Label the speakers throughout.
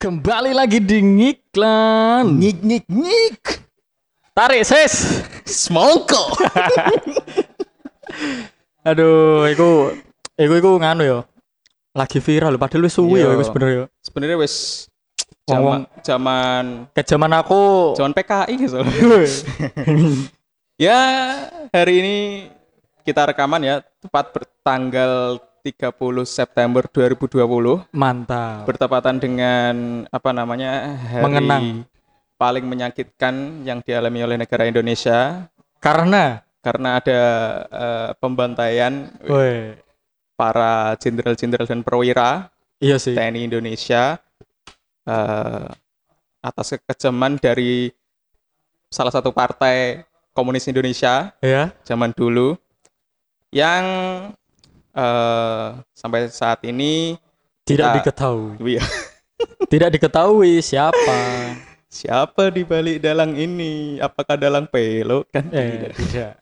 Speaker 1: Kembali lagi di ngiklan.
Speaker 2: Nyik nyik nyik.
Speaker 1: Tarik, sis.
Speaker 2: Semongko.
Speaker 1: Aduh, iku iku iku nganu ya. Lagi viral padahal wis suwi ya
Speaker 2: Iya.
Speaker 1: iku sebenarnya. ya.
Speaker 2: Sebenarnya wes
Speaker 1: Wong-wong.
Speaker 2: zaman zaman
Speaker 1: Kejaman aku
Speaker 2: zaman PKI gitu soalnya. Ya, hari ini kita rekaman ya tepat bertanggal 30 September 2020
Speaker 1: mantap.
Speaker 2: bertepatan dengan apa namanya? hari
Speaker 1: Mengenang.
Speaker 2: paling menyakitkan yang dialami oleh negara Indonesia
Speaker 1: Karena
Speaker 2: karena ada eh, pembantaian
Speaker 1: woi,
Speaker 2: para jenderal-jenderal dan perwira
Speaker 1: iya sih.
Speaker 2: TNI Indonesia eh, atas kekejaman dari salah satu partai komunis Indonesia
Speaker 1: Ya.
Speaker 2: zaman dulu yang eh, sampai saat ini
Speaker 1: Tidak
Speaker 2: Kita-
Speaker 1: diketahui.
Speaker 2: Wih,
Speaker 1: Tidak diketahui siapa.
Speaker 2: siapa di balik dalang ini apakah dalang pelo kan
Speaker 1: eh,
Speaker 2: tidak
Speaker 1: tidak.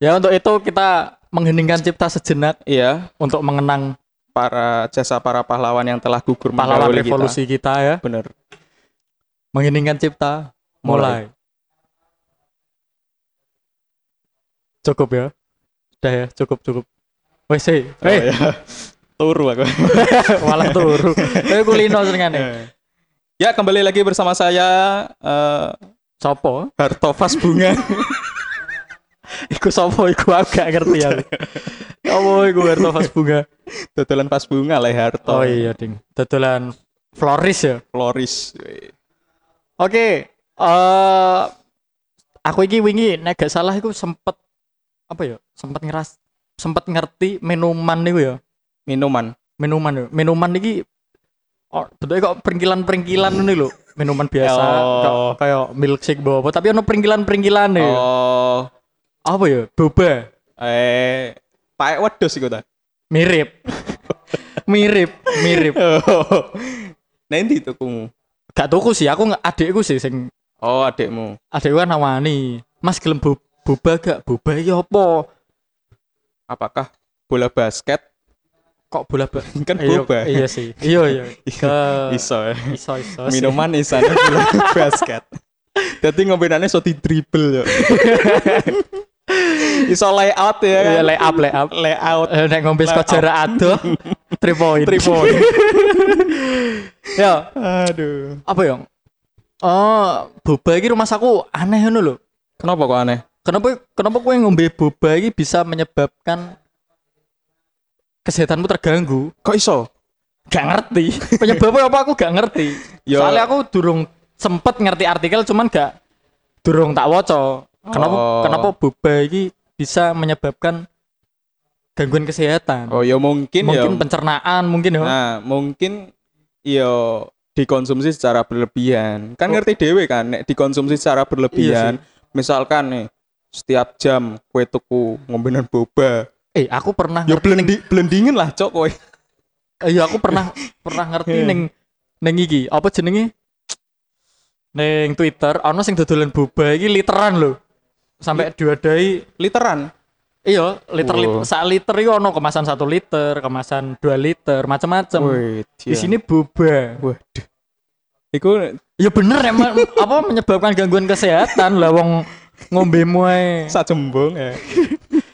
Speaker 1: ya untuk itu kita mengheningkan cipta sejenak
Speaker 2: iya
Speaker 1: untuk mengenang
Speaker 2: para jasa para pahlawan yang telah gugur
Speaker 1: pahlawan
Speaker 2: mendahului
Speaker 1: revolusi kita ya.
Speaker 2: kita. bener
Speaker 1: Mengheningkan cipta mulai.
Speaker 2: Mulai.
Speaker 1: Cukup ya. Udah ya, cukup cukup. Wes, hey,
Speaker 2: Oh, ya. turu aku
Speaker 1: malah turu. Kayak kulino senengane.
Speaker 2: ya kembali lagi bersama saya eh,
Speaker 1: Sopo?
Speaker 2: Hartofas Bunga
Speaker 1: Iku sopo iku aku gak ngerti ya. Sopo iku Harto Fas Bunga?
Speaker 2: Dodolan pas bunga lah ya, Harto.
Speaker 1: Oh iya ding. Dodolan floris ya.
Speaker 2: Floris.
Speaker 1: Oke, eh aku iki wingi nek gak salah iku sempet apa ya? Sempet ngeras sempet ngerti minuman niku ya.
Speaker 2: Minuman.
Speaker 1: Minuman ya. Minuman iki oh, bentuknya kok peringkilan-peringkilan ini lho. Minuman biasa
Speaker 2: Oh.
Speaker 1: kok kayak milkshake bawa apa tapi ono peringkilan-peringkilan ya.
Speaker 2: Oh,
Speaker 1: Apa ya? Boba.
Speaker 2: eh paek wedhus iku ta.
Speaker 1: Mirip. mirip, mirip.
Speaker 2: Nah endi tukumu?
Speaker 1: Gak tuku sih, aku nge- adikku sih sing
Speaker 2: Oh, adikmu.
Speaker 1: adikku kan nawani. Mas gelem bo- boba gak? Boba iki apa?
Speaker 2: Apakah bola basket
Speaker 1: Kok bola ba-
Speaker 2: kan
Speaker 1: Iya,
Speaker 2: boba?
Speaker 1: Iya sih. Iya iya. Ke
Speaker 2: Iso. ya.
Speaker 1: iso iso. iya sih.
Speaker 2: Minuman isane bola basket. Dadi ngombenane iso di dribble yo. iso layout ya kan.
Speaker 1: Iya lay up lay up.
Speaker 2: Layout.
Speaker 1: Eh, Nek ngombe
Speaker 2: Lay up.
Speaker 1: sejarah adoh 3 point.
Speaker 2: Three point.
Speaker 1: Ya,
Speaker 2: Aduh.
Speaker 1: apa ya? Oh, boba iki rumah aku aneh ngono lho.
Speaker 2: Kenapa kok aneh?
Speaker 1: Kenapa kenapa kowe ngombe boba iki bisa menyebabkan kesehatanmu terganggu?
Speaker 2: Kok iso?
Speaker 1: Gak ngerti. Penyebabnya apa aku gak ngerti.
Speaker 2: Ya.
Speaker 1: Soalnya aku durung sempet ngerti artikel cuman gak durung tak waca. Kenapa
Speaker 2: Oh.
Speaker 1: kenapa boba iki bisa menyebabkan gangguan kesehatan?
Speaker 2: Oh, ya mungkin, ya.
Speaker 1: mungkin pencernaan mungkin ya.
Speaker 2: Nah, mungkin yo dikonsumsi secara berlebihan. Kan
Speaker 1: Oh.
Speaker 2: ngerti dewe kan nek dikonsumsi secara berlebihan. Misalkan nih setiap jam kue tuku ngombenan boba.
Speaker 1: Eh, aku pernah
Speaker 2: Ya blendi, blendingin lah cok kowe.
Speaker 1: eh, iya aku pernah pernah ngerti
Speaker 2: Iya.
Speaker 1: ning ning iki apa jenenge? Ning Twitter ana sing dodolan boba iki literan lho. Sampai diwadai
Speaker 2: Literan.
Speaker 1: iya liter liter
Speaker 2: Iya. Wah.
Speaker 1: sak liter iki ono kemasan satu liter, kemasan dua liter, macam-macam.
Speaker 2: Wih, iya.
Speaker 1: di sini boba.
Speaker 2: waduh. Iku
Speaker 1: Ya bener emang apa menyebabkan gangguan kesehatan lah wong ngombe muai
Speaker 2: sajembung ya.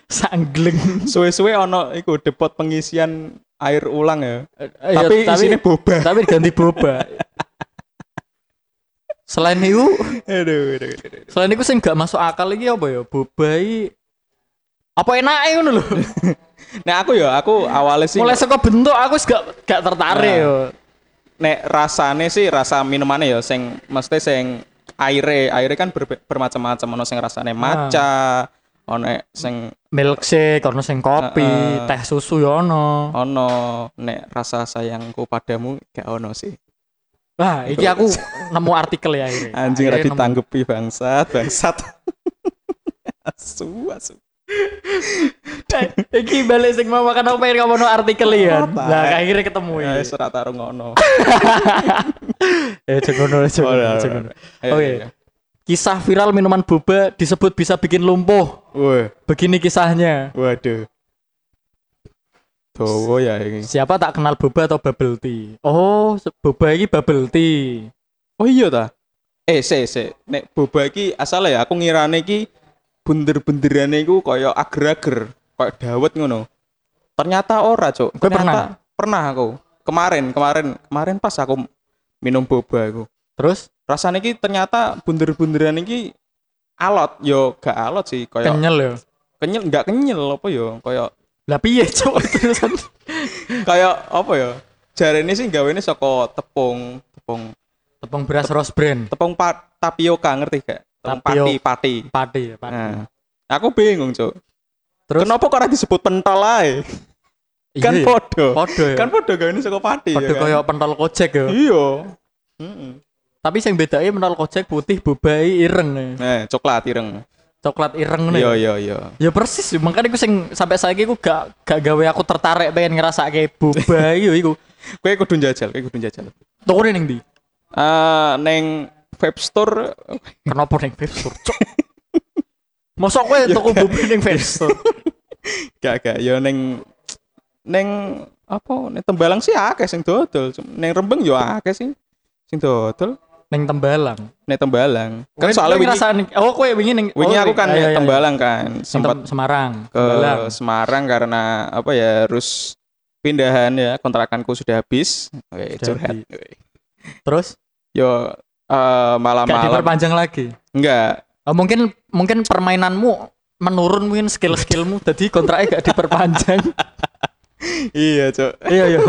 Speaker 1: sangleng.
Speaker 2: Suwe-suwe ono iku depot pengisian air ulang ya.
Speaker 1: Tapi,
Speaker 2: tapi,
Speaker 1: Eh, iya, tapi
Speaker 2: isinya boba.
Speaker 1: tapi ganti boba. Selain itu,
Speaker 2: Aduh, aduh, aduh, aduh.
Speaker 1: selain itu sing gak masuk akal iki apa ya? Boba iki apa enaknya ngono lho.
Speaker 2: Nah, aku ya, aku awalnya sih
Speaker 1: Mulai saka bentuk aku wis gak gak tertarik
Speaker 2: Nah.
Speaker 1: yo.
Speaker 2: nek rasane sih rasa minumannya ya sing mesti sing aire aire kan berbe- bermacam-macam ono sing rasane matcha ono sing
Speaker 1: Milkshake, ono sing kopi,
Speaker 2: Heeh.
Speaker 1: teh susu yo ono.
Speaker 2: ono nek rasa sayangku padamu gak ono sih
Speaker 1: Wah, iki aku nemu artikel ya akhirnya.
Speaker 2: anjing ra
Speaker 1: Akhirnya nemu.
Speaker 2: ditanggepi bangsat bangsat asu asu
Speaker 1: Iki balik sing mau makan apa yang kamu artikel ya.
Speaker 2: Apa?
Speaker 1: Nah, akhirnya ketemu ya.
Speaker 2: Eh, wis ora tarung ngono
Speaker 1: Eh, cekono, cekono,
Speaker 2: Ora, ora,
Speaker 1: cekono.
Speaker 2: Ayo,
Speaker 1: Oke.
Speaker 2: ayo, ayo.
Speaker 1: Kisah viral minuman boba disebut bisa bikin lumpuh.
Speaker 2: Wah,
Speaker 1: Begini kisahnya.
Speaker 2: waduh Jawa ya ini.
Speaker 1: Siapa tak kenal boba atau bubble tea? Oh, se- boba ini bubble tea.
Speaker 2: Oh iya ta. Eh, se se nek boba iki asale ya aku ngirane iki bunder-bunderane iku kaya ager-ager, kaya dawet ngono. Ternyata ora, Cuk.
Speaker 1: Kowe
Speaker 2: Ternyata- Pernah aku. Kemarin, kemarin, kemarin pas aku minum boba aku.
Speaker 1: Terus
Speaker 2: Rasane iki ternyata bunder-bunderan iki alot, yo gak alot sih, kaya
Speaker 1: kenyal ya.
Speaker 2: kenyel nggak kenyel apa ya kaya
Speaker 1: Lah piye, Cuk? Terusan.
Speaker 2: kaya apa ya jarene sih gawene saka tepung tepung
Speaker 1: Tepung beras Rose Brand.
Speaker 2: tepung pa- tapioka ngerti gak tepung
Speaker 1: Tapio-
Speaker 2: pati pati
Speaker 1: Pati ya, pati.
Speaker 2: nah, aku bingung cuk
Speaker 1: Terus?
Speaker 2: kenapa kok ora disebut pentol ae kan
Speaker 1: Iya,
Speaker 2: podo
Speaker 1: podo ya.
Speaker 2: kan podo gawene saka pati
Speaker 1: Podo
Speaker 2: ya kan?
Speaker 1: koyo pentol kojek ya.
Speaker 2: iya Mm-mm.
Speaker 1: Tapi sing bedanya pentol kojek putih bobai ireng ya.
Speaker 2: nah coklat ireng
Speaker 1: Coklat ireng nih.
Speaker 2: iya iya iya
Speaker 1: Ya persis, ya. makanya aku sing sampai saiki aku gak gak gawe aku tertarik pengen ngerasa kayak boba yo iku.
Speaker 2: kowe kudu njajal kowe kudu njajal
Speaker 1: Tukune ning ndi?
Speaker 2: Eh, neng vape store
Speaker 1: Kenapa ning Vapstore, Cuk? Mosok kowe tuku
Speaker 2: Iya.
Speaker 1: boba ning Vapstore?
Speaker 2: gak gak ya neng neng apa neng tembalang sih akeh sing dodol Cuma neng rembeng yo akeh sih sing dodol
Speaker 1: Ning Tembalang.
Speaker 2: neng tembalang kan
Speaker 1: Kowe- kowe
Speaker 2: soalnya wingi
Speaker 1: ngerasa ning- oh kowe wingi ning
Speaker 2: wingi
Speaker 1: oh,
Speaker 2: aku
Speaker 1: iya,
Speaker 2: kan neng
Speaker 1: iya,
Speaker 2: tembalang kan
Speaker 1: iya. Ning
Speaker 2: sempat
Speaker 1: Tem- Semarang.
Speaker 2: ke
Speaker 1: Tembalang.
Speaker 2: Semarang karena apa ya harus pindahan ya kontrakanku sudah habis Oke,
Speaker 1: Sudah
Speaker 2: curhat
Speaker 1: Terus
Speaker 2: yo eh,
Speaker 1: gak
Speaker 2: malam-malam
Speaker 1: diperpanjang lagi.
Speaker 2: enggak
Speaker 1: Oh, mungkin mungkin permainanmu menurun mungkin skill-skillmu jadi kontraknya gak diperpanjang.
Speaker 2: iya cok
Speaker 1: iya iya.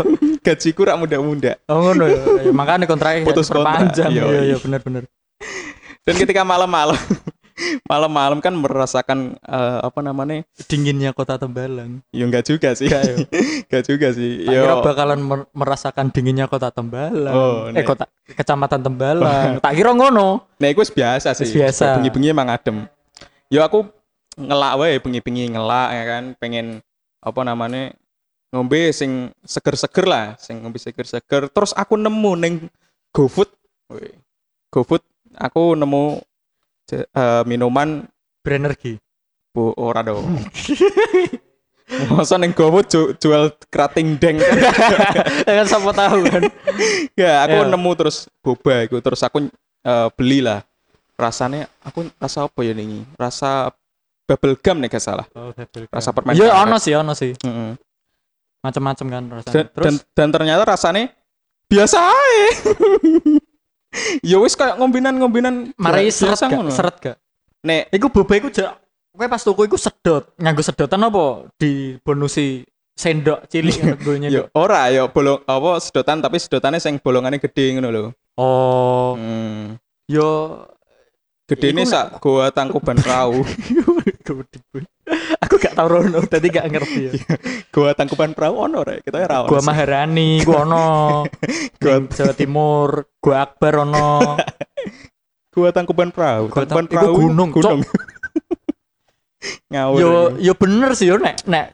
Speaker 2: gajiku rak muda-muda
Speaker 1: Oh ngono ya. Ya, Makanya kontraknya gak
Speaker 2: Putus kontrak.
Speaker 1: diperpanjang.
Speaker 2: Iya,
Speaker 1: Iya
Speaker 2: iya.
Speaker 1: iya bener bener.
Speaker 2: dan ketika malam-malam malam-malam kan merasakan eh, apa namanya
Speaker 1: Dinginnya kota Tembalang.
Speaker 2: ya enggak juga sih
Speaker 1: Gak ya.
Speaker 2: Gak juga sih.
Speaker 1: Tak kira bakalan mer- merasakan dinginnya kota Tembalang.
Speaker 2: Oh,
Speaker 1: eh
Speaker 2: nek.
Speaker 1: kota kecamatan Tembalang. tak kira ngono.
Speaker 2: Nah, itu wis biasa sih.
Speaker 1: Wis biasa.
Speaker 2: Bengi-bengi emang adem. Yo aku ngelak wae bengi-bengi ngelak ya kan, pengen apa namanya ngombe sing seger-seger lah, sing ngombe seger-seger. Terus aku nemu neng GoFood. Woi. GoFood aku nemu je- eh, minuman
Speaker 1: Berenergi.
Speaker 2: Bu ora dong. Masa neng GoFood ju- jual kerating deng.
Speaker 1: kan siapa tahu kan.
Speaker 2: Ya,
Speaker 1: Iya.
Speaker 2: aku nemu terus boba iku terus aku eh, beli lah. Rasanya aku rasa apa ya ini? Rasa bubble gum nih gak salah.
Speaker 1: Oh,
Speaker 2: Rasa permen
Speaker 1: Iya
Speaker 2: karet.
Speaker 1: ono sih ono sih.
Speaker 2: Mm-mm.
Speaker 1: Macam-macam kan rasanya.
Speaker 2: Dan,
Speaker 1: Terus
Speaker 2: dan, dan ternyata rasanya biasa ae. ya wis kayak ngombinan-ngombinan
Speaker 1: mari
Speaker 2: biasa
Speaker 1: seret gak?
Speaker 2: ngono.
Speaker 1: Seret gak?
Speaker 2: Nek
Speaker 1: Iku boba iku jak kowe pas tuku iku sedot, nganggo sedotan apa dibonusi sendok cilik ngono gonya iku?
Speaker 2: yo ya ora yo bolong apa sedotan tapi sedotannya sing bolongannya gede ngono lho.
Speaker 1: Oh,
Speaker 2: Hmm.
Speaker 1: yo
Speaker 2: Gede ini
Speaker 1: Iku
Speaker 2: sak gua tangkuban perahu.
Speaker 1: Gede gue. Aku gak tau rono, tadi gak ngerti ya.
Speaker 2: gua tangkuban perahu ono rek, kita ora ono
Speaker 1: Gua
Speaker 2: sih.
Speaker 1: Maharani, gua ono.
Speaker 2: Gua-
Speaker 1: Gua Jawa Timur, gua Akbar ono.
Speaker 2: Gua tangkuban perahu.
Speaker 1: Gua tang-
Speaker 2: tangkuban
Speaker 1: iku
Speaker 2: perahu
Speaker 1: gunung,
Speaker 2: Ngawur.
Speaker 1: Yo yo bener sih yo nek nek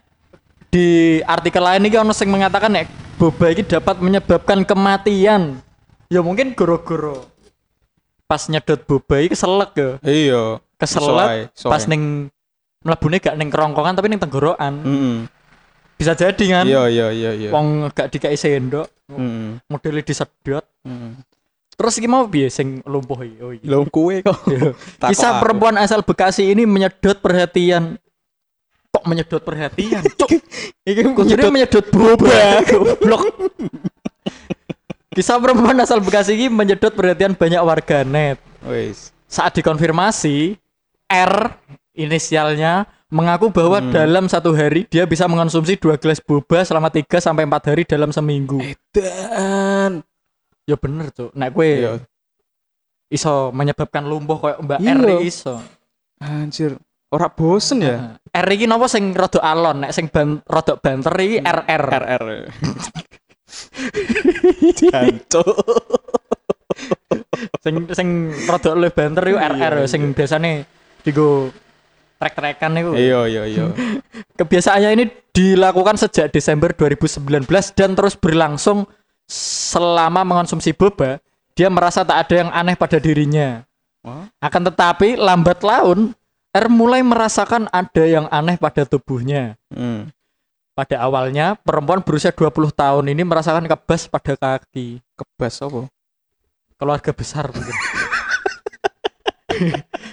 Speaker 1: di artikel lain ini ono sing mengatakan nek boba ini dapat menyebabkan kematian. Ya mungkin goro-goro pas nyedot boba iki keselek ya.
Speaker 2: Iya.
Speaker 1: Keselek
Speaker 2: Soai, soai.
Speaker 1: pas ning mlebune gak ning kerongkongan tapi ning tenggorokan.
Speaker 2: Mm-mm.
Speaker 1: Bisa jadi kan.
Speaker 2: Hmm. Iya iya iya iya.
Speaker 1: Wong gak dikai sendok,
Speaker 2: Mm-mm.
Speaker 1: modelnya disedot.
Speaker 2: Mm-mm.
Speaker 1: Terus iki mau piye sing lumpuh iki? Oh iya.
Speaker 2: Lho kue kok. Takok
Speaker 1: Kisah
Speaker 2: aku.
Speaker 1: perempuan asal Bekasi ini menyedot perhatian. Kok menyedot perhatian? Cuk.
Speaker 2: Iki
Speaker 1: Kuncinya menyedot boba, goblok. Kisah perempuan asal Bekasi ini menyedot perhatian banyak warganet.
Speaker 2: Wis.
Speaker 1: Saat dikonfirmasi, R inisialnya mengaku bahwa
Speaker 2: Hmm.
Speaker 1: dalam satu hari dia bisa mengkonsumsi dua gelas boba selama 3 sampai 4 hari dalam seminggu.
Speaker 2: Eh. Dan
Speaker 1: Ya bener, Cuk. Nek kue
Speaker 2: Iya.
Speaker 1: iso menyebabkan lumpuh koyo Mbak
Speaker 2: Iya.
Speaker 1: R ini iso.
Speaker 2: anjir. Ora bosen ya?
Speaker 1: R iki napa sing rada alon, nek sing ban, rada banter
Speaker 2: Hmm.
Speaker 1: iki RR.
Speaker 2: RR. Jancuk.
Speaker 1: sing sing rada luwih banter iku
Speaker 2: Iya,
Speaker 1: RR
Speaker 2: iya.
Speaker 1: sing biasane digo trek-trekan iku.
Speaker 2: Iya iya iya.
Speaker 1: Kebiasaannya ini dilakukan sejak Desember 2019 dan terus berlangsung selama mengonsumsi boba, dia merasa tak ada yang aneh pada dirinya.
Speaker 2: Wah.
Speaker 1: Akan tetapi lambat laun R mulai merasakan ada yang aneh pada tubuhnya.
Speaker 2: Hmm.
Speaker 1: Pada awalnya, perempuan berusia 20 tahun ini merasakan kebas pada kaki.
Speaker 2: Kebas apa?
Speaker 1: Keluarga besar mungkin.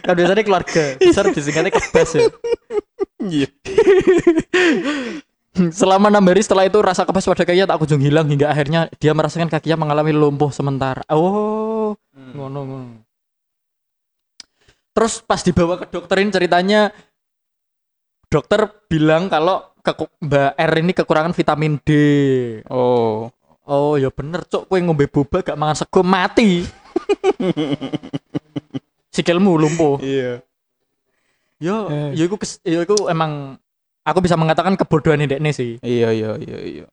Speaker 1: kan biasanya keluarga besar disingkatnya kebas ya.
Speaker 2: Iya.
Speaker 1: Selama enam hari setelah itu rasa kebas pada kakinya tak kunjung hilang hingga akhirnya dia merasakan kakinya mengalami lumpuh sementara. Oh,
Speaker 2: Hmm.
Speaker 1: ngono ngono. Terus pas dibawa ke dokter ini ceritanya dokter bilang kalau keku- Mbak R ini kekurangan vitamin D.
Speaker 2: Oh.
Speaker 1: Oh ya bener cok kowe ngombe boba gak mangan sego mati. Sikilmu lumpuh.
Speaker 2: Iya.
Speaker 1: Yo,
Speaker 2: Eh.
Speaker 1: yo iku kes- yo iku emang aku bisa mengatakan kebodohan ndekne sih.
Speaker 2: Iya iya iya iya.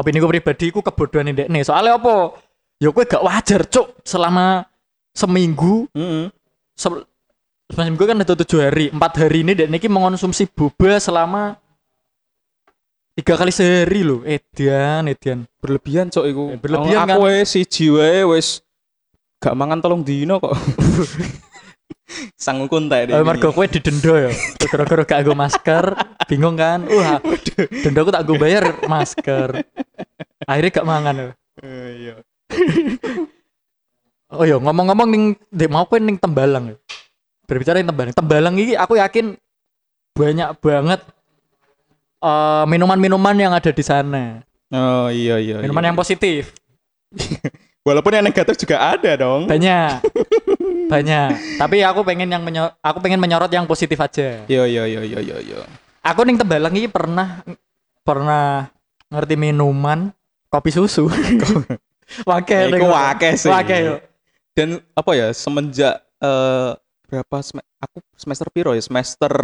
Speaker 1: Opini ku pribadi ku kebodohan ndekne. Soalnya apa? Yo kowe gak wajar cuk selama seminggu
Speaker 2: Heeh.
Speaker 1: se selama seminggu kan ada tujuh hari, empat hari ini ndekne iki mengonsumsi boba selama tiga kali sehari Eh, loh. Edian, Edian.
Speaker 2: Berlebihan kan? cok iku.
Speaker 1: Eh, berlebihan,
Speaker 2: aku wis siji wae wis gak mangan tolong dino kok. Eh, Sangukun ta
Speaker 1: Oh, Margo kowe didenda ya. Gara-gara gak nggo masker, bingung kan? Wah, dendaku tak gue bayar masker. Akhirnya gak mangan loh.
Speaker 2: Iya.
Speaker 1: Oh iya, ngomong-ngomong ning dek mau kowe ning Tembalang. ya. Berbicara ning Tembalang. Tembalang ini aku yakin banyak banget eh, minuman-minuman yang ada di sana.
Speaker 2: Oh iya iya.
Speaker 1: Minuman
Speaker 2: iya.
Speaker 1: yang positif.
Speaker 2: walaupun yang negatif juga ada dong.
Speaker 1: Banyak. banyak. Tapi aku pengen yang menyo- aku pengen menyorot yang positif aja.
Speaker 2: Iya iya iya iya iya iya.
Speaker 1: aku ning tembalang ini pernah pernah ngerti minuman kopi susu
Speaker 2: Ya,
Speaker 1: wakil
Speaker 2: iku wakeh sih.
Speaker 1: wakil yo.
Speaker 2: Dan apa ya semenjak eh, berapa sem aku semester piro ya semester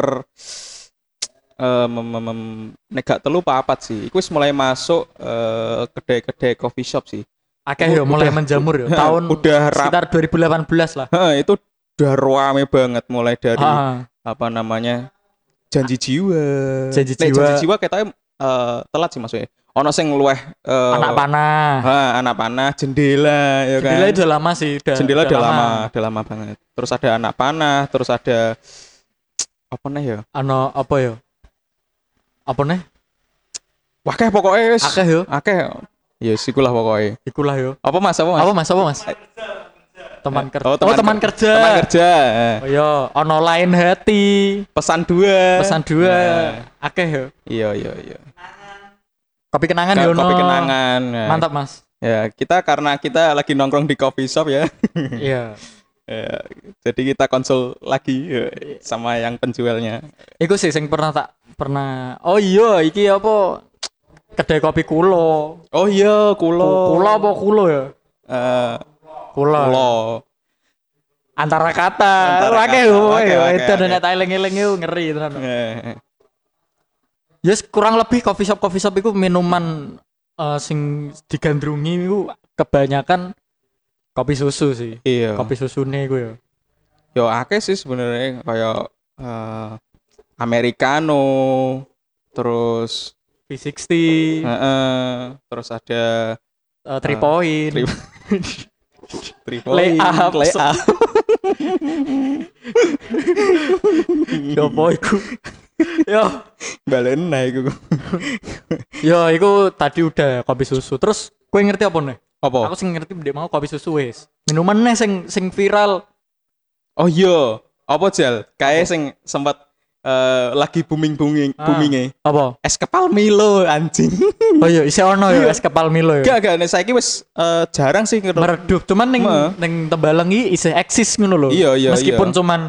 Speaker 2: eh mem mem mem negak telu apa apat sih. Iku wis mulai masuk eh, kedai-kedai coffee shop sih.
Speaker 1: Akeh yo
Speaker 2: Udah-
Speaker 1: mulai menjamur yo tahun
Speaker 2: udah rap,
Speaker 1: sekitar 2018 lah
Speaker 2: Heeh, itu udah rame banget mulai dari
Speaker 1: Ah,
Speaker 2: apa namanya janji jiwa
Speaker 1: Janji
Speaker 2: Nek,
Speaker 1: Jiwa.
Speaker 2: janji jiwa katanya eh, telat sih maksudnya ono sing luweh eh,
Speaker 1: anak panah
Speaker 2: ha, anak panah jendela ya kan
Speaker 1: jendela udah lama sih udah,
Speaker 2: jendela udah lama udah lama banget terus ada anak panah terus ada apa nih ya
Speaker 1: ano apa yo apa nih
Speaker 2: wakeh pokoknya wis
Speaker 1: akeh yo
Speaker 2: akeh ya sikulah pokoknya
Speaker 1: ikulah yo
Speaker 2: apa mas apa mas
Speaker 1: apa mas apa mas teman kerja oh
Speaker 2: Oh, teman
Speaker 1: teman
Speaker 2: ker-
Speaker 1: kerja
Speaker 2: teman kerja eh.
Speaker 1: oh yo ono lain hati
Speaker 2: pesan dua
Speaker 1: pesan dua
Speaker 2: Eh.
Speaker 1: akeh yo
Speaker 2: iya iya iya
Speaker 1: kopi kenangan yo
Speaker 2: Kan,
Speaker 1: ono.
Speaker 2: kopi kenangan ya.
Speaker 1: mantap mas
Speaker 2: ya kita karena kita lagi nongkrong di coffee shop ya
Speaker 1: Iya.
Speaker 2: Ya, jadi kita konsul lagi ya, sama yang penjualnya.
Speaker 1: Iku sih sing pernah tak pernah. Oh iya, iki apa? Kedai kopi kulo.
Speaker 2: Oh iya, kulo.
Speaker 1: Kulo apa kulo ya?
Speaker 2: Eh,
Speaker 1: Kulo.
Speaker 2: kulo.
Speaker 1: Antara kata.
Speaker 2: Antara
Speaker 1: Wake
Speaker 2: kata,
Speaker 1: yo,
Speaker 2: wake,
Speaker 1: wake,
Speaker 2: wake,
Speaker 1: itu
Speaker 2: wake.
Speaker 1: dan tak eling-eling yo ngeri tenan.
Speaker 2: Eh,
Speaker 1: Yes, kurang lebih coffee shop coffee shop iku minuman eh, sing digandrungi iku kebanyakan kopi susu sih.
Speaker 2: iya.
Speaker 1: Kopi susune iku ya.
Speaker 2: Yo akeh sih sebenarnya kayak eh, americano, terus
Speaker 1: V60,
Speaker 2: eh, eh, terus ada
Speaker 1: eh, three point.
Speaker 2: three- triple
Speaker 1: Layup.
Speaker 2: layup.
Speaker 1: Yo apa iku? Yo,
Speaker 2: Balen naik iku.
Speaker 1: Ya, itu tadi udah kopi susu. Terus kowe ngerti apa nih?
Speaker 2: Apa?
Speaker 1: Aku sing ngerti ndek mau kopi susu wis. Minuman nih sing sing viral.
Speaker 2: Oh iya, apa Jel? Kayak sing sempat eh, lagi booming-booming
Speaker 1: Ah.
Speaker 2: boomingnya.
Speaker 1: Apa?
Speaker 2: Es kepal Milo anjing.
Speaker 1: Oh iya, isih ono ya es kepal Milo ya.
Speaker 2: Gak gak nek saiki wis eh, jarang sih ngerti.
Speaker 1: Meredup, cuman ning
Speaker 2: Heeh.
Speaker 1: ning Tembalang iki isih eksis ngono lho.
Speaker 2: Iya, iya,
Speaker 1: Meskipun
Speaker 2: iya.
Speaker 1: cuman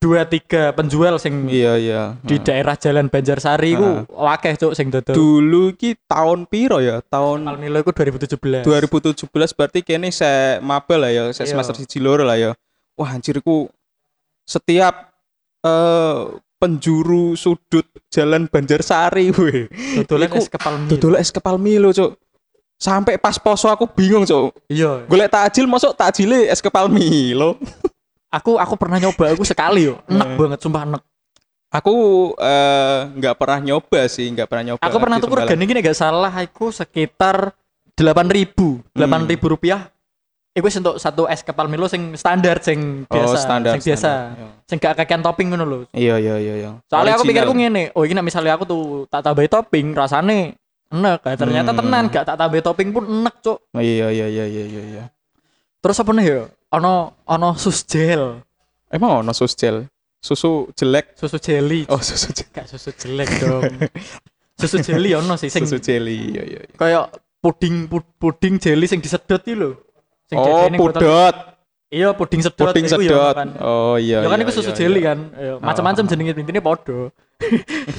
Speaker 1: dua tiga penjual sing
Speaker 2: Iya iya.
Speaker 1: di daerah Jalan Banjarsari iku akeh cuk sing dodol.
Speaker 2: Dulu ki tahun piro ya? Tahun
Speaker 1: Kepal Milo iku 2017.
Speaker 2: 2017 berarti kene saya maba lah ya, saya
Speaker 1: Iya.
Speaker 2: semester siji loro lah ya. Wah anjirku setiap eh, penjuru sudut jalan Banjarsari weh.
Speaker 1: Dodolan
Speaker 2: Iku
Speaker 1: es kepal Milo.
Speaker 2: Dodol es kepal Milo, Cuk. Sampai pas poso aku bingung, Cuk.
Speaker 1: Iya.
Speaker 2: Golek takjil masuk takjile es kepal Milo.
Speaker 1: Aku aku pernah nyoba aku sekali yo. Enak banget sumpah enak.
Speaker 2: Aku eh, nggak pernah nyoba sih, nggak pernah nyoba.
Speaker 1: Aku pernah
Speaker 2: di
Speaker 1: tuku
Speaker 2: Tembalang. Hmm.
Speaker 1: regane gini gak salah aku sekitar 8000, 8000 rupiah Iku wis entuk satu es kepal Milo sing standar sing
Speaker 2: Oh,
Speaker 1: biasa,
Speaker 2: standar,
Speaker 1: sing biasa.
Speaker 2: standar, iya.
Speaker 1: Sing gak kakean topping ngono lho.
Speaker 2: Iya iya iya iya.
Speaker 1: Soalnya aku pikirku
Speaker 2: Original.
Speaker 1: ngene, oh ini nek misalnya aku tuh tak tambahi topping rasane enak, Nah, ternyata
Speaker 2: Hmm.
Speaker 1: tenan gak tak tambahi topping pun enak, Cuk.
Speaker 2: Iya iya iya iya iya iya.
Speaker 1: Terus apa nih ya? Ono ono sus gel,
Speaker 2: Emang ono sus gel? Susu jelek.
Speaker 1: susu jelly.
Speaker 2: Oh, susu jelek.
Speaker 1: Gak susu jelek dong. susu jelly ono sih sing
Speaker 2: Susu jelly. Iya iya iya.
Speaker 1: kayak puding pud- puding jelly sing disedot iki lho. Sing
Speaker 2: Oh,
Speaker 1: jadiane botol-
Speaker 2: pudot.
Speaker 1: Iya, puding sedot.
Speaker 2: Puding
Speaker 1: iku ya,
Speaker 2: sedot.
Speaker 1: kan.
Speaker 2: Oh iya.
Speaker 1: Ya kan
Speaker 2: iya,
Speaker 1: itu susu
Speaker 2: iya,
Speaker 1: jelly
Speaker 2: iya.
Speaker 1: kan. Ya, macam-macam jenenge intinya podo.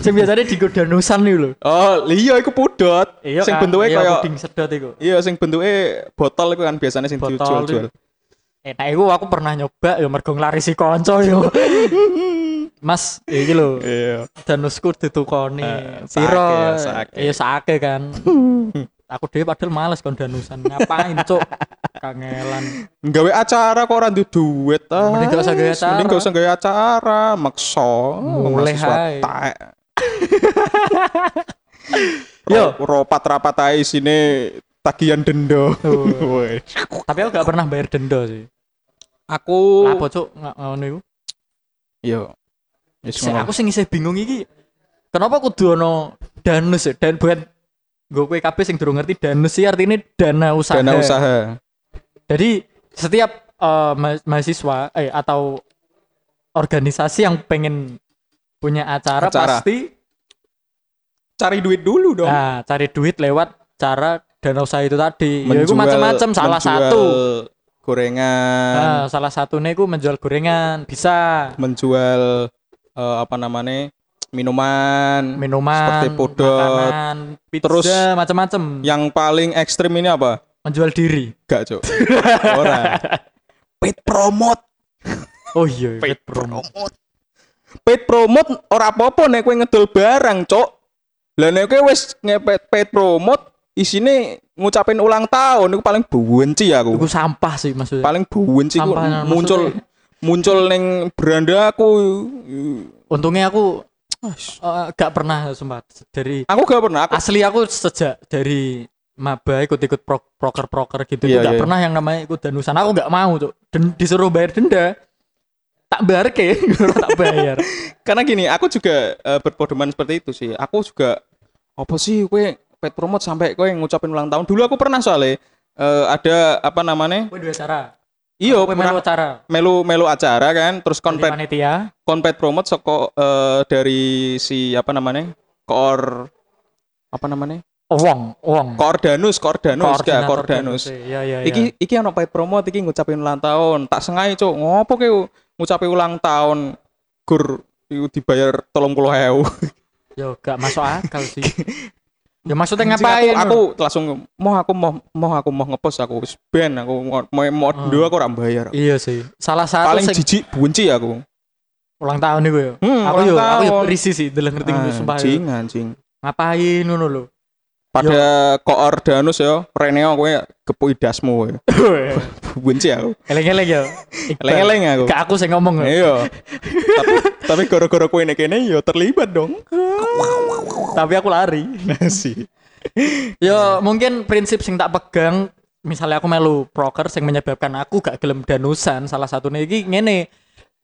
Speaker 1: Sing biasanya di godanusan nih lho.
Speaker 2: Oh, iya iku pudot. sing
Speaker 1: kan?
Speaker 2: bentuke
Speaker 1: Iya,
Speaker 2: kaya
Speaker 1: puding sedot iku.
Speaker 2: Iya, sing bentuke botol iku kan biasanya sing
Speaker 1: Botol
Speaker 2: dijual-jual.
Speaker 1: Enak iku aku pernah nyoba ya mergo nglarisi kanca yo. Mas, iki lho,
Speaker 2: Iya.
Speaker 1: danusku ditukoni.
Speaker 2: Eh, sake
Speaker 1: Piro?
Speaker 2: ya, sake.
Speaker 1: Iya sake kan. aku dhewe padahal males kon danusan. Ngapain, Cuk? Kangelan.
Speaker 2: Nggawe acara kok ora ndu duit. ah.
Speaker 1: Mending gak usah gawe acara.
Speaker 2: Mending gak usah gawe acara, maksa
Speaker 1: Mulai,
Speaker 2: mahasiswa
Speaker 1: hai.
Speaker 2: taek.
Speaker 1: Yo.
Speaker 2: Ro- ropat-rapat ae isine tagihan denda. Woi.
Speaker 1: Tapi aku gak pernah bayar denda sih.
Speaker 2: Aku
Speaker 1: Apa, Cuk? Nggak ngono iku.
Speaker 2: Yo. Wis
Speaker 1: Sik,
Speaker 2: ngono.
Speaker 1: aku sing isih bingung iki. Kenapa kudu ono danus ya? Dan bukan gue kue KB sing durung ngerti danus sih artinya dana usaha.
Speaker 2: dana usaha.
Speaker 1: Jadi setiap eh, ma- mahasiswa eh atau organisasi yang pengen punya acara,
Speaker 2: Acara.
Speaker 1: pasti
Speaker 2: Cari duit dulu dong.
Speaker 1: nah, cari duit lewat cara dana usaha itu tadi. Ya itu
Speaker 2: Menjual-
Speaker 1: macam-macam salah
Speaker 2: menjual
Speaker 1: satu.
Speaker 2: gorengan,
Speaker 1: Nah, salah satunya iku menjual gorengan, bisa
Speaker 2: menjual eh, apa namanya? minuman.
Speaker 1: minuman,
Speaker 2: Seperti podot,
Speaker 1: makanan, pizza,
Speaker 2: terus
Speaker 1: macam-macam.
Speaker 2: Yang paling ekstrim ini apa?
Speaker 1: Menjual diri.
Speaker 2: Gak, Cok. Ora. Paid promote.
Speaker 1: Oh iya,
Speaker 2: Paid
Speaker 1: paid promo.
Speaker 2: Paid promote ora apa-apa nek kowe ngedol barang, Cok. Lah nek kowe wis ngepet paid promote isine ngucapin ulang tahun itu paling benci aku.
Speaker 1: Iku sampah sih maksudnya.
Speaker 2: paling benci ku
Speaker 1: Sampah, nah,
Speaker 2: muncul muncul neng beranda aku
Speaker 1: Untungnya aku eh, gak pernah sumpah dari
Speaker 2: aku gak pernah aku
Speaker 1: asli aku sejak dari maba ikut-ikut pro- proker-proker gitu
Speaker 2: Iya,
Speaker 1: itu gak
Speaker 2: iya.
Speaker 1: pernah yang namanya ikut danusan aku gak mau tuh disuruh bayar denda tak bayar ke tak bayar
Speaker 2: karena gini aku juga eh, berpedoman seperti itu sih aku juga apa sih kue pet promote sampai kue ngucapin ulang tahun dulu aku pernah soalnya eh, ada apa namanya
Speaker 1: gue dua cara
Speaker 2: iyo
Speaker 1: gue melu
Speaker 2: pernah
Speaker 1: cara
Speaker 2: melu melu acara kan terus kon
Speaker 1: dari
Speaker 2: pet
Speaker 1: panitia
Speaker 2: kon pet promote soko eh, dari si apa namanya koor apa namanya
Speaker 1: oh, wong wong
Speaker 2: kordanus kordanus ya kordanus
Speaker 1: ya ya ya
Speaker 2: iki iki ana pait promote iki ngucapin ulang tahun tak sengai cuk ngopo ke ngucapin ulang tahun gur iku dibayar 30.000
Speaker 1: yo gak masuk akal sih ya maksudnya
Speaker 2: Anjing,
Speaker 1: ngapain
Speaker 2: aku, aku langsung mau aku mau mau aku mau ngepost aku wis ben aku mau mau mau
Speaker 1: Hmm.
Speaker 2: dua aku ora bayar
Speaker 1: iya sih salah satu
Speaker 2: paling
Speaker 1: sing-
Speaker 2: jijik benci aku
Speaker 1: ulang tahun gue yo
Speaker 2: hmm,
Speaker 1: aku yo
Speaker 2: ulang
Speaker 1: aku yo
Speaker 2: tahun. Ah,
Speaker 1: risih sih deleng ngerti gue sumpah yo.
Speaker 2: anjing anjing
Speaker 1: ngapain ngono lho
Speaker 2: pada koordanus ya Reneo kowe gepuk dasmu kowe benci aku
Speaker 1: eleng-eleng ya
Speaker 2: eleng-eleng aku
Speaker 1: ke aku sing ngomong yo.
Speaker 2: iya tapi tapi gara-gara kowe nek kene ya terlibat dong Nah,
Speaker 1: tapi aku lari
Speaker 2: sih
Speaker 1: yo mungkin prinsip sing tak pegang misalnya aku melu proker sing menyebabkan aku gak gelem danusan salah satunya iki ngene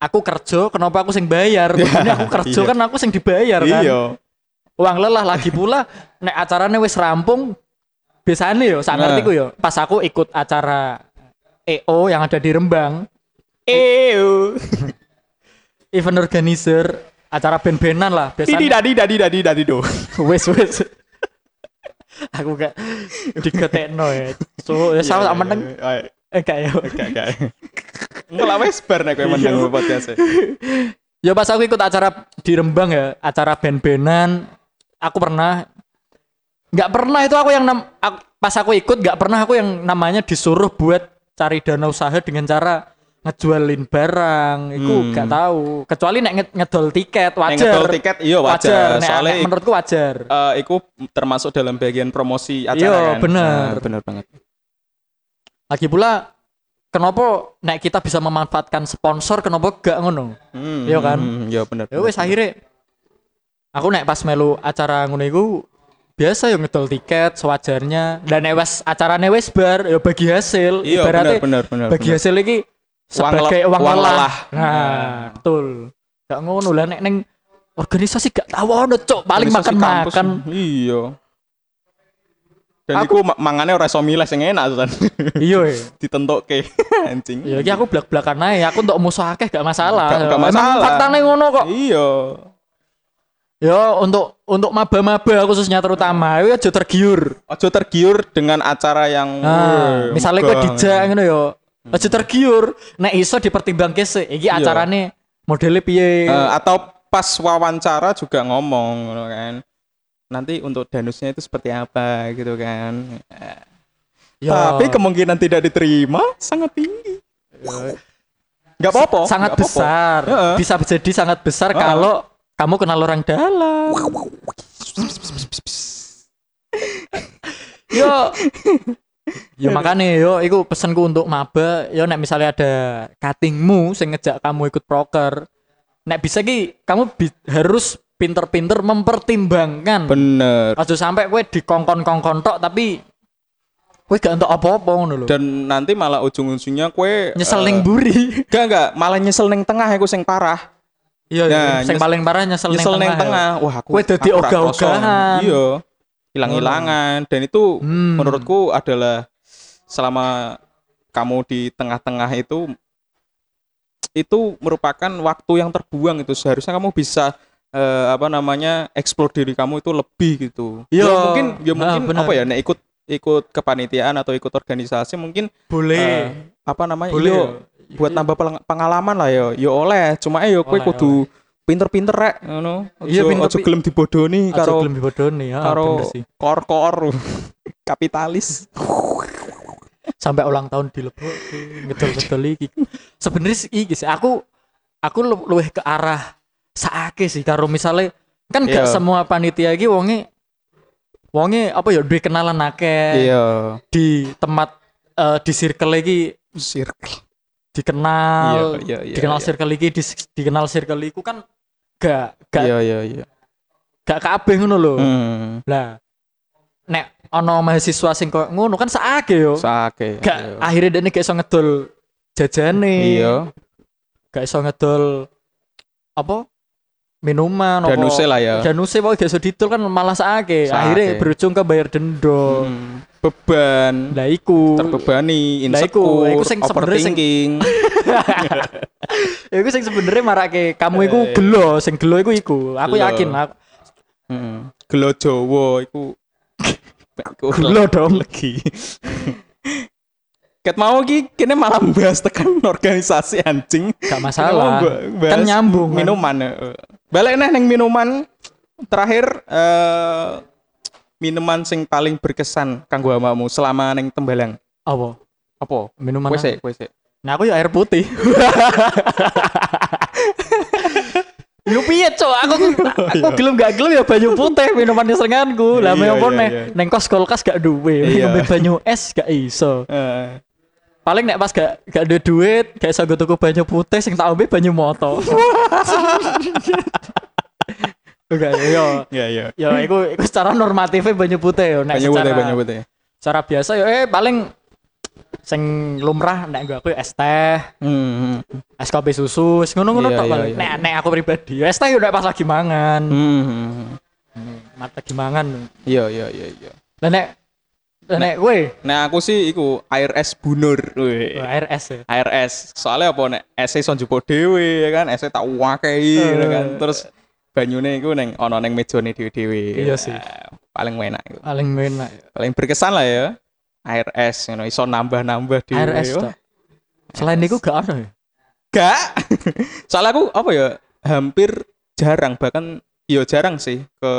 Speaker 1: aku kerja kenapa aku sing bayar Maksudnya aku kerja
Speaker 2: Iya.
Speaker 1: kan aku sing dibayar kan
Speaker 2: iya
Speaker 1: uang lelah lagi pula nek acaranya wis rampung biasanya yo sak ngerti ku yo pas aku ikut acara EO yang ada di Rembang
Speaker 2: Ew.
Speaker 1: event organizer acara band-bandan lah
Speaker 2: Didi
Speaker 1: biasanya
Speaker 2: dadi dadi dadi dadi do.
Speaker 1: wes wes aku gak digetekno ya so ya sama sama meneng eh gak ya
Speaker 2: Iya, Kayak kayak. Ngelak wes bar nek kowe
Speaker 1: Iya.
Speaker 2: menang podcast.
Speaker 1: ya pas aku ikut acara di Rembang ya acara band-bandan aku pernah nggak pernah itu aku yang nam, ak- pas aku ikut nggak pernah aku yang namanya disuruh buat cari dana usaha dengan cara ngejualin barang itu
Speaker 2: Hmm.
Speaker 1: gak tahu kecuali nek nge- ngedol tiket wajar
Speaker 2: ngedol tiket, iya, wajar.
Speaker 1: Nek-
Speaker 2: Soalnya
Speaker 1: nek
Speaker 2: ik-
Speaker 1: menurutku wajar
Speaker 2: Eh iku termasuk dalam bagian promosi acara
Speaker 1: Iya,
Speaker 2: kan.
Speaker 1: bener.
Speaker 2: Ah, bener banget.
Speaker 1: lagi pula kenapa nek kita bisa memanfaatkan sponsor kenapa gak ngono
Speaker 2: Hmm,
Speaker 1: Iya kan?
Speaker 2: hmm, Iya bener.
Speaker 1: ya wes akhirnya aku nek pas melu acara ngono iku biasa yo ngedol tiket sewajarnya dan nek wes acarane wes bar yo bagi hasil
Speaker 2: Iya,
Speaker 1: ibaratnya
Speaker 2: bener, bener, bener,
Speaker 1: bagi
Speaker 2: bener.
Speaker 1: hasil iki
Speaker 2: Uang le-
Speaker 1: sebagai uang,
Speaker 2: uang
Speaker 1: lelah.
Speaker 2: lelah.
Speaker 1: nah betul gak ngono lah nek neng organisasi gak tau ono cok paling
Speaker 2: Organisasi kampus.
Speaker 1: makan-makan
Speaker 2: Iya. Dan
Speaker 1: Aku-
Speaker 2: aku mangane ora iso milih sing enak Susan.
Speaker 1: iya iya.
Speaker 2: Ditentuke anjing.
Speaker 1: ya iki aku blak-blakan ae aku untuk musuh akeh gak masalah
Speaker 2: Gak- gak
Speaker 1: Emang
Speaker 2: masalah.
Speaker 1: faktane ngono kok
Speaker 2: Iya.
Speaker 1: Ya untuk untuk maba-maba khususnya terutama itu aja tergiur.
Speaker 2: Ojo tergiur dengan acara yang
Speaker 1: Nah,
Speaker 2: Weh,
Speaker 1: misalnya kowe
Speaker 2: mugah.
Speaker 1: dijak ngono ya. Aja tergiur. Nek iso dipertimbang kese iki
Speaker 2: Iya.
Speaker 1: acarane modelnya piye.
Speaker 2: Eh, atau pas wawancara juga ngomong gitu kan. Nanti untuk danusnya itu seperti apa gitu kan. Eh,
Speaker 1: Ya,
Speaker 2: Tapi kemungkinan tidak diterima sangat tinggi. Gak apa-apa,
Speaker 1: sangat
Speaker 2: nggak apa-apa.
Speaker 1: besar.
Speaker 2: Heeh.
Speaker 1: Bisa jadi sangat besar
Speaker 2: Heeh.
Speaker 1: kalau kamu kenal orang dalam. yo.
Speaker 2: Iya.
Speaker 1: Yo makanya yo iku pesenku untuk maba yo nek misalnya ada cuttingmu sing ngejak kamu ikut proker nek bisa ki kamu bi- harus pinter-pinter mempertimbangkan
Speaker 2: Bener.
Speaker 1: aja sampai kowe dikongkon-kongkon tok tapi kowe gak entuk apa-apa ngono lho
Speaker 2: Dan nanti malah ujung-ujungnya kue
Speaker 1: nyesel
Speaker 2: eh,
Speaker 1: ning buri
Speaker 2: Enggak enggak, malah nyesel neng tengah aku sing parah.
Speaker 1: iya iya
Speaker 2: Nah,
Speaker 1: sing
Speaker 2: nyes-
Speaker 1: paling parah nyesel,
Speaker 2: nyesel
Speaker 1: ning
Speaker 2: neng
Speaker 1: tengah, ya?
Speaker 2: tengah. Wah, aku
Speaker 1: Kowe dadi
Speaker 2: aku ra
Speaker 1: ogah-ogahan.
Speaker 2: kroso. Iya. Hilang-hilangan dan itu
Speaker 1: Hmm.
Speaker 2: menurutku adalah selama kamu di tengah-tengah itu itu merupakan waktu yang terbuang itu seharusnya kamu bisa eh, apa namanya explore diri kamu itu lebih gitu
Speaker 1: Iya.
Speaker 2: ya mungkin ya
Speaker 1: Ah,
Speaker 2: mungkin
Speaker 1: benar.
Speaker 2: apa ya nek ikut ikut kepanitiaan atau ikut organisasi mungkin
Speaker 1: boleh
Speaker 2: eh, apa namanya
Speaker 1: boleh
Speaker 2: iya,
Speaker 1: yo.
Speaker 2: buat nambah peleng- pengalaman lah yo yo oleh cuma eh, yo kowe
Speaker 1: Oleh,
Speaker 2: kudu pinter-pinter rek ngono
Speaker 1: Iya,
Speaker 2: Ojo-
Speaker 1: pinter-
Speaker 2: ojo gelem dibodoni
Speaker 1: Aja
Speaker 2: karo
Speaker 1: gelem dibodoni, ya, bener
Speaker 2: karo
Speaker 1: sih.
Speaker 2: kor-kor kapitalis
Speaker 1: sampai ulang tahun di lebok ngedol ngedol iki sebenarnya sih iki sih aku aku lu- luwih ke arah saake sih karo misalnya kan gak
Speaker 2: Iya.
Speaker 1: semua panitia iki wonge wonge apa ya duwe kenalan akeh
Speaker 2: iya
Speaker 1: di tempat eh, di circle iki
Speaker 2: circle
Speaker 1: dikenal
Speaker 2: Iya, iya, iya,
Speaker 1: dikenal
Speaker 2: iya.
Speaker 1: circle iki dis- dikenal circle iku kan gak gak
Speaker 2: iya iya iya
Speaker 1: gak kabeh ngono lho
Speaker 2: hmm
Speaker 1: lah nek ono mahasiswa sing koyo ngono kan saake yo
Speaker 2: sake
Speaker 1: gak akhirnya dia ini gak iso ngedol jajane
Speaker 2: iya
Speaker 1: gak iso ngedol apa minuman apa
Speaker 2: danuse lah ya
Speaker 1: danuse pokoknya gak iso didol kan malah saake
Speaker 2: Saake.
Speaker 1: akhirnya berujung ke bayar denda
Speaker 2: Hmm. beban
Speaker 1: lah iku
Speaker 2: terbebani
Speaker 1: Lah, iku-
Speaker 2: insecure
Speaker 1: iku sing sebenernya sing-
Speaker 2: overthinking
Speaker 1: Ya iku sing sebenarnya marake kamu iku
Speaker 2: Eh.
Speaker 1: gelo sing gelo iku iku aku
Speaker 2: Gelo.
Speaker 1: yakin aku
Speaker 2: Hmm. gelo Jawa iku iku
Speaker 1: gelo dong
Speaker 2: lagi Ket mau ki kene malah bahas tekan organisasi anjing.
Speaker 1: gak
Speaker 2: Kene mau
Speaker 1: masalah
Speaker 2: ba- bahas
Speaker 1: kan nyambung kan.
Speaker 2: minuman. eh. Balik neh neng minuman terakhir eh, minuman sing paling berkesan kanggo awakmu selama neng Tembalang.
Speaker 1: apa
Speaker 2: Apa?
Speaker 1: minuman
Speaker 2: Kowe
Speaker 1: apa?
Speaker 2: sik, kowe sik.
Speaker 1: nah aku ya air putih Yo piye cok, aku aku
Speaker 2: Oh,
Speaker 1: gelem gak gelem ya banyu putih minuman serenganku. Lah
Speaker 2: Iya,
Speaker 1: meopo
Speaker 2: iya,
Speaker 1: neh
Speaker 2: iya.
Speaker 1: neng kos kulkas gak duwe,
Speaker 2: Iya.
Speaker 1: minum banyu es gak iso.
Speaker 2: Eh,
Speaker 1: Paling nek pas gak gak ada duit, gak iso gue tuku banyu putih sing tak ombe banyu moto. Enggak yo.
Speaker 2: Iya iya.
Speaker 1: Yo iku iku secara normatifnya banyu putih yo nek ya,
Speaker 2: Banyak
Speaker 1: secara
Speaker 2: banyak banyak banyak.
Speaker 1: secara biasa yo eh paling sing lumrah nek gue aku ya es teh,
Speaker 2: Hmm.
Speaker 1: es kopi susu, sing ngono-ngono
Speaker 2: Iya,
Speaker 1: tok
Speaker 2: iya,
Speaker 1: paling.
Speaker 2: iya.
Speaker 1: Nek nek aku pribadi, ya es teh yo nek pas lagi mangan.
Speaker 2: Hmm.
Speaker 1: mata gimangan
Speaker 2: Iya iya iya iya.
Speaker 1: lah nek lah nek kowe
Speaker 2: Nah aku sih iku air es bunur. Weh.
Speaker 1: Wah, ARS ya
Speaker 2: air es soalnya apa nek esnya son jupuk dhewe ya kan esnya tak wakei ya kan terus banyune iku neng ono neng mejone dhewe-dhewe
Speaker 1: Iya sih.
Speaker 2: Ah, paling enak iku.
Speaker 1: paling enak
Speaker 2: paling berkesan lah ya air es you know, iso nambah-nambah dhewe
Speaker 1: ARS
Speaker 2: Wah,
Speaker 1: tok selain itu gak ada ya
Speaker 2: gak soalnya aku apa ya hampir jarang bahkan iya jarang sih ke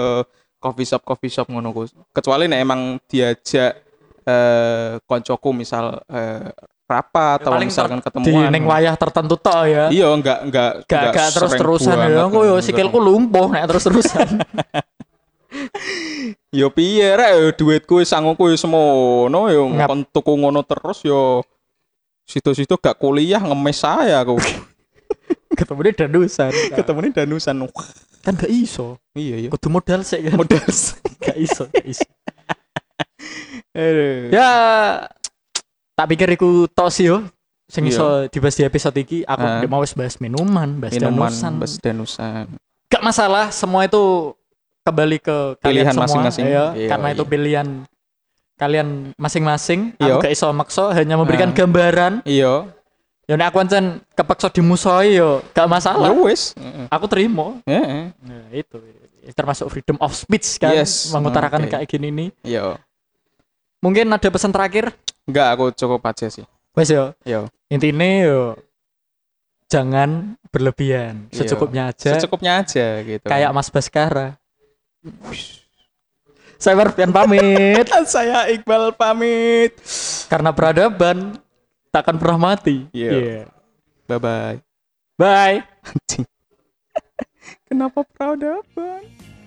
Speaker 2: coffee shop coffee shop ngono ku. kecuali nek emang diajak eh koncoku misal eh, rapat atau
Speaker 1: Paling
Speaker 2: misalkan
Speaker 1: di
Speaker 2: ketemuan
Speaker 1: neng wayah tertentu tok ya
Speaker 2: Iya, enggak enggak
Speaker 1: gak gak terus terusan
Speaker 2: sering
Speaker 1: ya
Speaker 2: banget.
Speaker 1: aku yo
Speaker 2: Enggak.
Speaker 1: sikilku lumpuh nek terus terusan
Speaker 2: Yo piye rek yo duitku wis sangoku wis semono yo
Speaker 1: Ngap.
Speaker 2: kon tuku ngono terus yo situ-situ gak kuliah ngemes saya aku.
Speaker 1: ketemu dia danusan
Speaker 2: Ketemune danusan. Wah,
Speaker 1: kan gak iso
Speaker 2: Iya iya.
Speaker 1: kudu modal sih kan
Speaker 2: Modal. sih.
Speaker 1: gak iso, gak iso.
Speaker 2: Aduh.
Speaker 1: ya tak pikir iku tok sih yo sing
Speaker 2: Iya.
Speaker 1: iso dibahas di episode iki aku
Speaker 2: Ah.
Speaker 1: mau wis bahas minuman bahas
Speaker 2: minuman
Speaker 1: danusan
Speaker 2: bas danusan.
Speaker 1: gak masalah semua itu kembali ke kalian
Speaker 2: Pilihan
Speaker 1: semua
Speaker 2: masing-masing.
Speaker 1: ya,
Speaker 2: Iya,
Speaker 1: karena itu
Speaker 2: iya.
Speaker 1: pilihan kalian masing-masing
Speaker 2: Iya.
Speaker 1: aku gak iso maksa hanya memberikan
Speaker 2: Ah.
Speaker 1: gambaran
Speaker 2: Iya.
Speaker 1: ya nek aku ancen kepaksa dimusuhi yo gak
Speaker 2: Ya
Speaker 1: masalah
Speaker 2: wis. Heeh.
Speaker 1: aku terima
Speaker 2: Heeh.
Speaker 1: nah, itu termasuk freedom of speech kan
Speaker 2: Yes.
Speaker 1: mengutarakan
Speaker 2: Oke.
Speaker 1: kayak gini nih
Speaker 2: Yo.
Speaker 1: mungkin ada pesan terakhir
Speaker 2: Iya. Enggak aku cukup aja sih. Iya.
Speaker 1: wes yo
Speaker 2: Yo.
Speaker 1: intinya yo jangan berlebihan
Speaker 2: Iya.
Speaker 1: secukupnya aja
Speaker 2: Secukupnya aja gitu.
Speaker 1: kayak Mas Baskara saya Marvian pamit
Speaker 2: Dan saya Iqbal pamit.
Speaker 1: karena peradaban takkan pernah mati
Speaker 2: Iya.
Speaker 1: Iya.
Speaker 2: Bye bye.
Speaker 1: bye
Speaker 2: Kenapa peradaban?